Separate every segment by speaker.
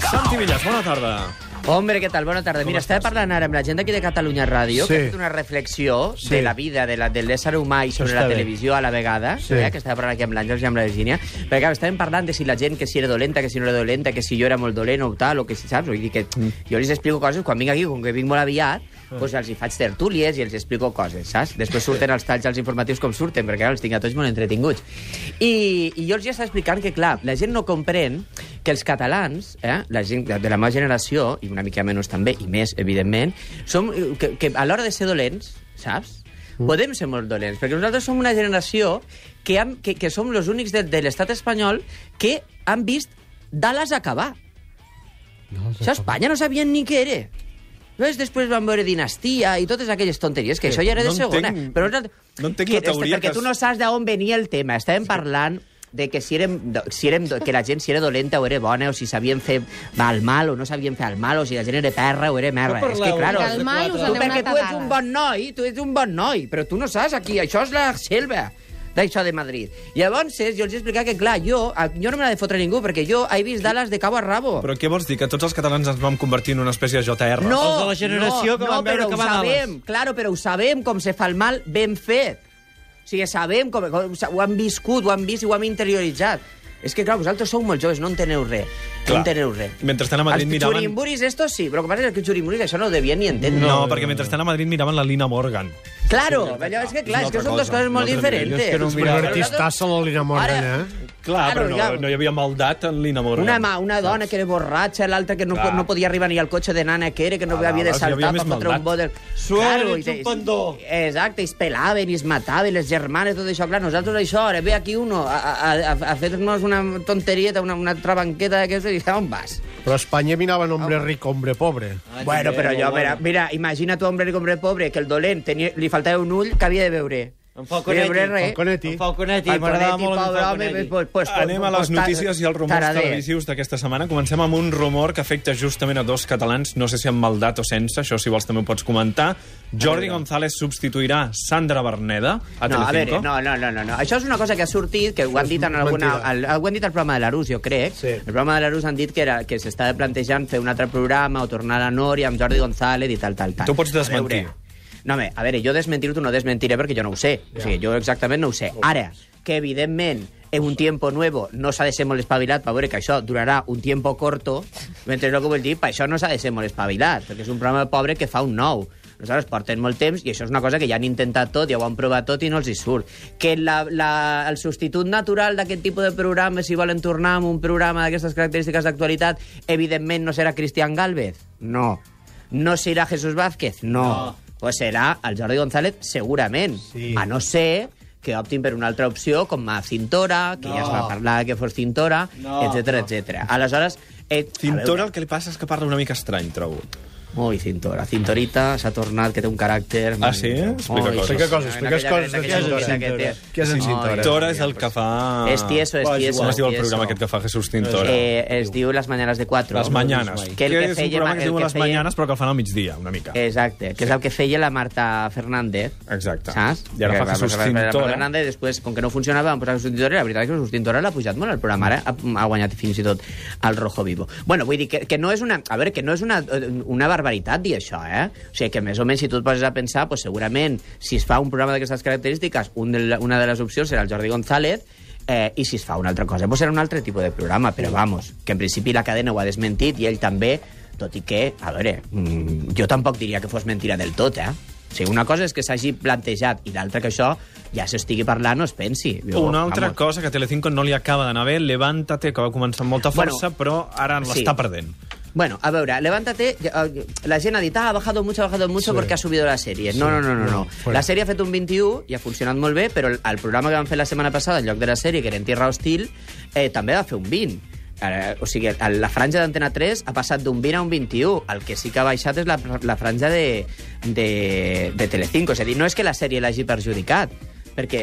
Speaker 1: Terrades, bona tarda.
Speaker 2: Hombre, què tal? Bona tarda. Mira, estava parlant ara amb la gent d'aquí de Catalunya Ràdio,
Speaker 3: Sí.
Speaker 2: que ha fet una reflexió
Speaker 3: Sí.
Speaker 2: de la vida de la, de l'ésser humà i sobre
Speaker 3: està
Speaker 2: la
Speaker 3: bé.
Speaker 2: televisió a la vegada,
Speaker 3: Sí.
Speaker 2: eh, que estava parlant aquí amb l'Àngels i amb la Virgínia, perquè clar, estàvem parlant de si la gent, que si era dolenta, que si no era dolenta, que si jo era molt dolent o tal, o que si saps, vull dir que jo els explico coses, quan vinc aquí, com que vinc molt aviat, doncs els hi faig tertúlies i els explico coses, saps? Després surten els talls als informatius com surten, perquè ara els tinc a tots molt entretinguts. I, i jo els ja estava explicant que, clar, la gent no comprèn que els catalans, eh, la gent de la meva generació, i una mica menys també, i més, evidentment, som, que, que a l'hora de ser dolents, saps? Mm. Podem ser molt dolents, perquè nosaltres som una generació que, hem, que, que som els únics de, de l'estat espanyol que han vist Dallas acabar. Això a Espanya no sabien ni què era. Ves, després van veure Dinastia i totes aquelles tonteries, que
Speaker 1: Sí,
Speaker 2: això ja era de
Speaker 1: Eh, no
Speaker 2: segona.
Speaker 1: entenc-
Speaker 2: però nosaltres-
Speaker 1: no entenc
Speaker 2: que,
Speaker 1: la teoria
Speaker 2: Perquè
Speaker 1: que
Speaker 2: tu
Speaker 1: es-
Speaker 2: no saps d'on venia el tema. Estàvem parlant de que si érem, do- si érem, do- que la gent si era dolenta o era bona, o si sabien fer el mal o no sabien fer el mal, o si la gent era perra o era merda.
Speaker 4: No
Speaker 2: és
Speaker 4: parleu
Speaker 2: que, claro,
Speaker 4: de
Speaker 5: Del mal us
Speaker 2: tu,
Speaker 5: aneu una
Speaker 2: perquè tu ets
Speaker 5: tacada.
Speaker 2: un bon noi, tu ets un bon noi, però tu no saps aquí, això és la selva d'això de Madrid. Llavors, eh, jo els he explicat que, clar, jo, a- jo no me l'ha de fotre ningú, perquè jo he vist Dallas de cabo a rabo.
Speaker 1: Però què vols dir? Que tots els catalans ens vam convertir en una espècie de JR?
Speaker 2: No,
Speaker 4: Els de la generació
Speaker 2: no,
Speaker 4: que
Speaker 2: no,
Speaker 4: van veure
Speaker 2: però
Speaker 4: que
Speaker 2: ho
Speaker 4: va Dallas.
Speaker 2: sabem, Claro, però ho sabem com se fa el mal ben fet. O sigui, sabem com, com ho han viscut, ho han vist i ho hem interioritzat. És que, clar, vosaltres sou molt joves, no enteneu res.
Speaker 1: Clar.
Speaker 2: No enteneu res.
Speaker 1: Mentrestant a Madrid
Speaker 2: Els
Speaker 1: miraven-
Speaker 2: xurimburis, esto sí, però el que passa és que els xurimburis això no ho devien ni entendre.
Speaker 1: No, perquè mentrestant a Madrid miraven la Lina Morgan.
Speaker 2: Claro, allò és que, clar,
Speaker 1: Una
Speaker 2: és que
Speaker 1: altra
Speaker 2: són dues
Speaker 1: cosa,
Speaker 2: coses molt
Speaker 1: un altre nivell.
Speaker 2: diferents.
Speaker 3: És que no
Speaker 1: Però
Speaker 3: mira
Speaker 1: ara-
Speaker 3: l'artistassa la Lina Morgan,
Speaker 2: Ara-
Speaker 3: eh?
Speaker 1: Clar,
Speaker 2: Claro,
Speaker 1: però no,
Speaker 2: ja.
Speaker 1: no hi havia maldat en Lina Morgan.
Speaker 2: Una, mà, una dona que era borratxa, l'altra que no,
Speaker 1: Clar.
Speaker 2: no podia arribar ni al cotxe de nana que era, que no
Speaker 1: Clar,
Speaker 2: havia de
Speaker 1: clar, si hi havia
Speaker 2: saltar
Speaker 1: més
Speaker 2: per fotre un
Speaker 1: maldat.
Speaker 2: bo del...
Speaker 4: Suar,
Speaker 2: Claro,
Speaker 4: ets
Speaker 2: i
Speaker 4: un
Speaker 2: de-
Speaker 4: pandó.
Speaker 2: Exacte, i es pelaven, i es mataven, les germanes, tot això. Clar, nosaltres això, ara ve aquí uno a, a, a, a fer-nos una tonterieta, una, una altra banqueta d'aquesta, i dius, on vas?
Speaker 3: Però a Espanya minaven hombre ric, hombre pobre.
Speaker 4: Ah,
Speaker 2: bueno,
Speaker 4: també,
Speaker 2: però jo,
Speaker 4: molt
Speaker 2: mira, mira, imagina tu, hombre, hombre pobre, que el dolent tenia, li faltava un ull que havia de veure.
Speaker 4: En Falconetti.
Speaker 2: Li veure res.
Speaker 3: Falconetti.
Speaker 4: En Falconetti, m'agradava molt en Falconetti.
Speaker 2: Pues, pues,
Speaker 1: Anem a les notícies i als rumors televisius d'aquesta setmana. Comencem amb un rumor que afecta justament a dos catalans, no sé si amb maldat o sense, això si vols també ho pots comentar. Jordi González substituirà Sandra Berneda a
Speaker 2: No,
Speaker 1: Telecinco.
Speaker 2: a veure, no, no, no, no, no. Això és una cosa que ha sortit, que ho han dit en alguna...
Speaker 3: mentida.
Speaker 2: Al, ho han dit al programa de l'Arús, jo crec.
Speaker 3: Sí.
Speaker 2: El programa de l'Arús han dit que, era, que s'estava plantejant fer un altre programa o tornar a la Nòria amb Jordi González i tal, tal, tal.
Speaker 1: Tu pots
Speaker 2: A veure.
Speaker 1: desmentir.
Speaker 2: No, home, a veure, jo desmentir-ho no desmentiré perquè jo no ho sé. O sigui, jo exactament no ho sé. Ara, que evidentment en un tiempo nuevo no s'ha de ser molt espavilat per veure que això durarà un tiempo corto, mentre el que vull dir, per això no s'ha de ser molt espavilat, perquè és un programa pobre que fa un nou. Nosaltres portem molt temps i això és una cosa que ja han intentat tot, ja ho han provat tot i no els hi surt. Que la, la, el substitut natural d'aquest tipus de programes, si volen tornar amb un programa d'aquestes característiques d'actualitat, evidentment no serà Cristian Galvez. No. No serà Jesús Vázquez. No. no. Pues serà el Jordi González segurament.
Speaker 3: Sí.
Speaker 2: A no ser que optin per una altra opció, com a Cintora, que no. ja es va parlar que fos Cintora,
Speaker 4: No,
Speaker 2: etcètera,
Speaker 4: no.
Speaker 2: etcètera. Aleshores... Eh, a
Speaker 1: Cintora
Speaker 2: veure.
Speaker 1: el que li passa és que parla una mica estrany, trobo.
Speaker 2: Ui, Cintora. Cintorita s'ha tornat, que té un caràcter...
Speaker 1: Ah, sí? Explica coses. Explica
Speaker 3: coses, explica coses de Cintora. Què és en Cintora?
Speaker 1: Cintora és el que fa...
Speaker 2: És tieso, és
Speaker 1: Com es
Speaker 2: tieso,
Speaker 1: diu el
Speaker 2: tieso.
Speaker 1: programa aquest que fa Jesús Cintora?
Speaker 2: Eh, es diu Les Mañanes de 4.
Speaker 1: Les Mañanes.
Speaker 2: Que el que,
Speaker 1: és un
Speaker 2: feia...
Speaker 1: programa que es
Speaker 2: el
Speaker 1: diu
Speaker 2: que
Speaker 1: Les
Speaker 2: feia- Eh,
Speaker 1: Mañanes, però que el fan al migdia, una mica.
Speaker 2: Exacte, que és el que feia la Marta Fernández.
Speaker 1: Exacte.
Speaker 2: Saps?
Speaker 1: I ara
Speaker 2: Que
Speaker 1: fa
Speaker 2: va
Speaker 1: Jesús
Speaker 2: passar per la Marta
Speaker 1: Cintora.
Speaker 2: Fernández, després, com que no funcionava, van posar Jesús Cintora, i la veritat és que Jesús Cintora l'ha pujat molt al programa, ara ha, ha guanyat fins i tot al Rojo Vivo. Bueno, vull dir que, que no és una... A veure, que no és una, una barbaritat dir això, eh? O sigui, que més o menys, si tu et poses a pensar, pues, segurament, si es fa un programa d'aquestes característiques, un de, la- una de les opcions serà el Jordi González, Eh, I si es fa una altra cosa, pues serà un altre tipus de programa, però vamos, que en principi la cadena ho ha desmentit i ell també, tot i que, a veure, mm, jo tampoc diria que fos mentira del tot, eh? O sigui, una cosa és que s'hagi plantejat i l'altra que això ja s'estigui parlant o es pensi. Jo,
Speaker 1: Una altra
Speaker 2: vamos.
Speaker 1: cosa que a Telecinco no li acaba d'anar bé, Levántate, que va començar amb molta
Speaker 2: Bueno,
Speaker 1: força, però ara l'està
Speaker 2: sí.
Speaker 1: perdent.
Speaker 2: Bueno, a veure, levántate. ja, eh, La gent ha dit, ah, ha bajado mucho, ha bajado mucho
Speaker 3: Sí.
Speaker 2: porque ha subido la sèrie. No,
Speaker 3: Sí.
Speaker 2: no, no, no. no.
Speaker 3: No, fuera.
Speaker 2: La sèrie ha fet un 21 i ha funcionat molt bé, però el- el programa que van fer la setmana passada, en lloc de la sèrie, que era en Tierra Hostil, eh, també va fer un 20. Ara, o sigui, el- la franja d'Antena 3 ha passat d'un 20 a un 21. El que sí que ha baixat és la, la franja de, de, de Telecinco. És a dir, no és que la sèrie l'hagi perjudicat, perquè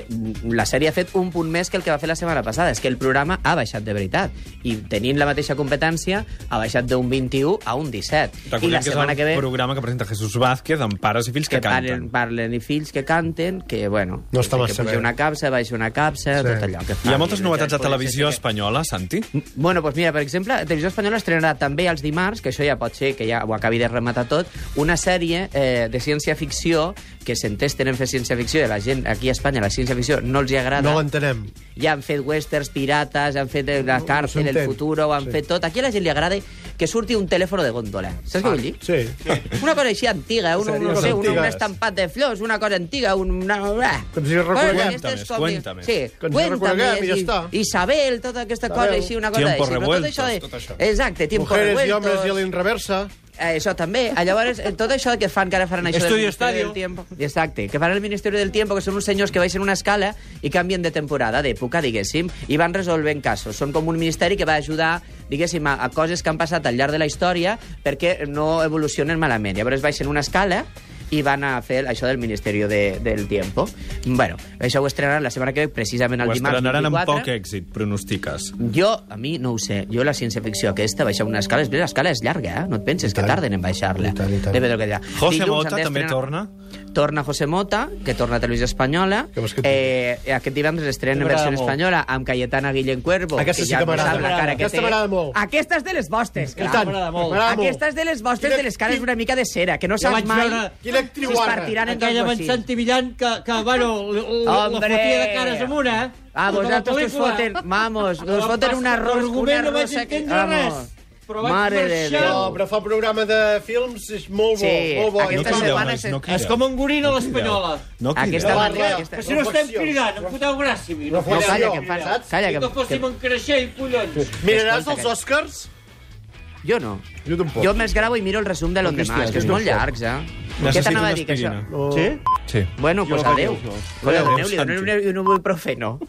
Speaker 2: la sèrie ha fet un punt més que el que va fer la setmana passada. És que el programa ha baixat de veritat. I tenint la mateixa competència, ha baixat d'un 21 a un 17. I
Speaker 1: Recordem
Speaker 2: la
Speaker 1: que és el
Speaker 2: setmana que ve...
Speaker 1: programa que presenta Jesús Vázquez amb pares i fills que,
Speaker 2: que parlen,
Speaker 1: canten.
Speaker 2: parlen i fills que canten, que, bueno...
Speaker 3: No està
Speaker 2: que
Speaker 3: massa
Speaker 2: puja
Speaker 3: bé.
Speaker 2: una capsa, baixa una capsa, sí.
Speaker 3: Sí.
Speaker 2: tot allò que fa.
Speaker 1: Hi ha moltes
Speaker 2: I
Speaker 1: novetats de
Speaker 2: llavors podem
Speaker 1: televisió
Speaker 2: fer que-
Speaker 1: espanyola, Santi.
Speaker 2: Bueno, doncs mira, per exemple, Televisió Espanyola estrenarà també els dimarts, que això ja pot ser que ja ho acabi de rematar tot, una sèrie eh, de ciència-ficció que s'entesten en fer ciència-ficció i a la gent aquí a Espanya la ciència-ficció no els hi agrada.
Speaker 3: No l'entenem.
Speaker 2: ja han fet westerns, pirates, han fet eh, la
Speaker 3: No, no
Speaker 2: càrcel, el
Speaker 3: s'entén.
Speaker 2: futuro, ho han
Speaker 3: Sí.
Speaker 2: fet tot. Aquí a la gent li agrada que surti un telèfon de góndola. Saps
Speaker 3: Ah,
Speaker 2: què vull dir?
Speaker 3: Sí.
Speaker 2: Una cosa així antiga, un, un, no
Speaker 3: Sèries
Speaker 2: sé, un, un
Speaker 3: antigues.
Speaker 2: estampat de flors, una cosa antiga, un... Una...
Speaker 3: Com si reconeguem.
Speaker 2: d'aquestes com de-
Speaker 1: Cuéntame,
Speaker 2: Sí,
Speaker 3: Com si
Speaker 2: cuéntame,
Speaker 3: reconeguem i ja
Speaker 2: i-
Speaker 3: està.
Speaker 2: Isabel, tota aquesta cosa
Speaker 3: Isabel.
Speaker 2: així, una cosa
Speaker 1: Tiempos
Speaker 2: així. però
Speaker 1: revueltos, tot això.
Speaker 2: Exacte, tiempos
Speaker 3: Mujeres i
Speaker 2: revueltos.
Speaker 3: homes i a l'inreversa.
Speaker 2: Eh, això també. Eh, Llavors, eh, tot això que fan, que ara faran això
Speaker 1: Estudio
Speaker 2: del Ministeri
Speaker 1: Estadio.
Speaker 2: del Tiempo. Exacte, que faran el Ministeri del Tiempo, que són uns senyors que baixen una escala i canvien de temporada, d'època, diguéssim, i van resolvent casos. Són com un ministeri que va ajudar, diguéssim, a, a coses que han passat al llarg de la història perquè no evolucionen malament. Llavors baixen una escala i van a fer això del Ministeri de, del Tiempo. Bueno, això ho estrenaran la setmana que ve, precisament el
Speaker 1: Ho
Speaker 2: dimarts 24.
Speaker 1: estrenaran amb poc èxit, pronostiques.
Speaker 2: Jo, a mi, no ho sé. Jo la ciència-ficció aquesta, baixar una escala... Després, l'escala és llarga, eh? No et penses que
Speaker 3: tant.
Speaker 2: tarden en baixar-la.
Speaker 3: I tant, i tant.
Speaker 2: Déu-n'hi-do que dirà.
Speaker 1: José
Speaker 2: Dilluns
Speaker 1: Mota
Speaker 2: han d'estrenar-
Speaker 1: també torna?
Speaker 2: Torna José Mota, que torna a Televisió Espanyola.
Speaker 3: Que vols que et
Speaker 2: eh, aquest divendres estrena en
Speaker 4: M'agrada
Speaker 2: versió
Speaker 4: molt.
Speaker 2: espanyola amb Cayetana Guillén Cuervo.
Speaker 3: Aquesta sí
Speaker 2: ja
Speaker 3: que
Speaker 2: no
Speaker 3: m'agrada.
Speaker 2: sap la cara que
Speaker 3: Aquesta
Speaker 2: té.
Speaker 3: m'agrada molt.
Speaker 2: Aquesta és de les vostres, clar.
Speaker 3: tant,
Speaker 4: m'agrada molt.
Speaker 3: m'agrada molt.
Speaker 2: Aquesta és de les vostres,
Speaker 3: Quina-
Speaker 2: de les cares una mica de cera, que no
Speaker 4: Ja
Speaker 2: saps
Speaker 4: vaig
Speaker 2: mai
Speaker 4: veure-
Speaker 2: si
Speaker 3: Quina actriu
Speaker 2: es
Speaker 3: guarra.
Speaker 2: partiran en dos
Speaker 4: Aquella amb en
Speaker 2: bocins.
Speaker 4: Santi Villan, que, que bueno, l- l- la
Speaker 2: Hombre.
Speaker 4: fotia de cares amunt, eh?
Speaker 2: Ah,
Speaker 4: Tota la
Speaker 2: vosaltres que us
Speaker 4: pel·lícula.
Speaker 2: foten, vamos, que us
Speaker 4: La
Speaker 2: foten
Speaker 4: pasta,
Speaker 2: una ros-
Speaker 4: l'argument
Speaker 2: una
Speaker 4: no vaig
Speaker 2: rosa que-
Speaker 4: entendre res.
Speaker 2: vamos.
Speaker 4: Però vaig
Speaker 2: Mare de
Speaker 4: marxar.
Speaker 2: Déu.
Speaker 3: No, però fa programa de films, és molt bo,
Speaker 2: Sí,
Speaker 3: molt Oh, bo.
Speaker 2: aquesta
Speaker 3: I
Speaker 1: crideu,
Speaker 2: setmana
Speaker 1: nois,
Speaker 2: se-
Speaker 1: no crideu.
Speaker 4: És com un goril a l'espanyola.
Speaker 1: No crideu.
Speaker 2: Aquesta
Speaker 3: va,
Speaker 2: manera...
Speaker 3: va,
Speaker 2: Aquesta...
Speaker 4: Però si no estem
Speaker 3: Reflexió.
Speaker 4: cridant, em foteu gràcia, a mi.
Speaker 3: No,
Speaker 2: No,
Speaker 4: foteu
Speaker 2: calla,
Speaker 3: Reflexió.
Speaker 2: que em
Speaker 4: gràcia.
Speaker 2: fan... Calla,
Speaker 4: Si
Speaker 2: que,
Speaker 4: no fóssim
Speaker 2: que...
Speaker 4: en creixer, collons.
Speaker 3: Miraràs
Speaker 2: Escolta,
Speaker 3: els
Speaker 2: que-
Speaker 3: Oscars?
Speaker 2: Jo no.
Speaker 3: Jo tampoc.
Speaker 2: Jo me'ls gravo i miro el resum de l'endemà, és que és molt llargs, eh? Què
Speaker 1: Necessito
Speaker 2: t'anava
Speaker 1: una
Speaker 2: a dir, que això?
Speaker 3: Oh.
Speaker 1: aspirina.
Speaker 3: No.
Speaker 4: Sí?
Speaker 1: Sí.
Speaker 2: Bueno, doncs pues adéu.
Speaker 1: Adéu,
Speaker 2: Adéu, li
Speaker 1: Santi.
Speaker 2: dono un, un ibuprofeno.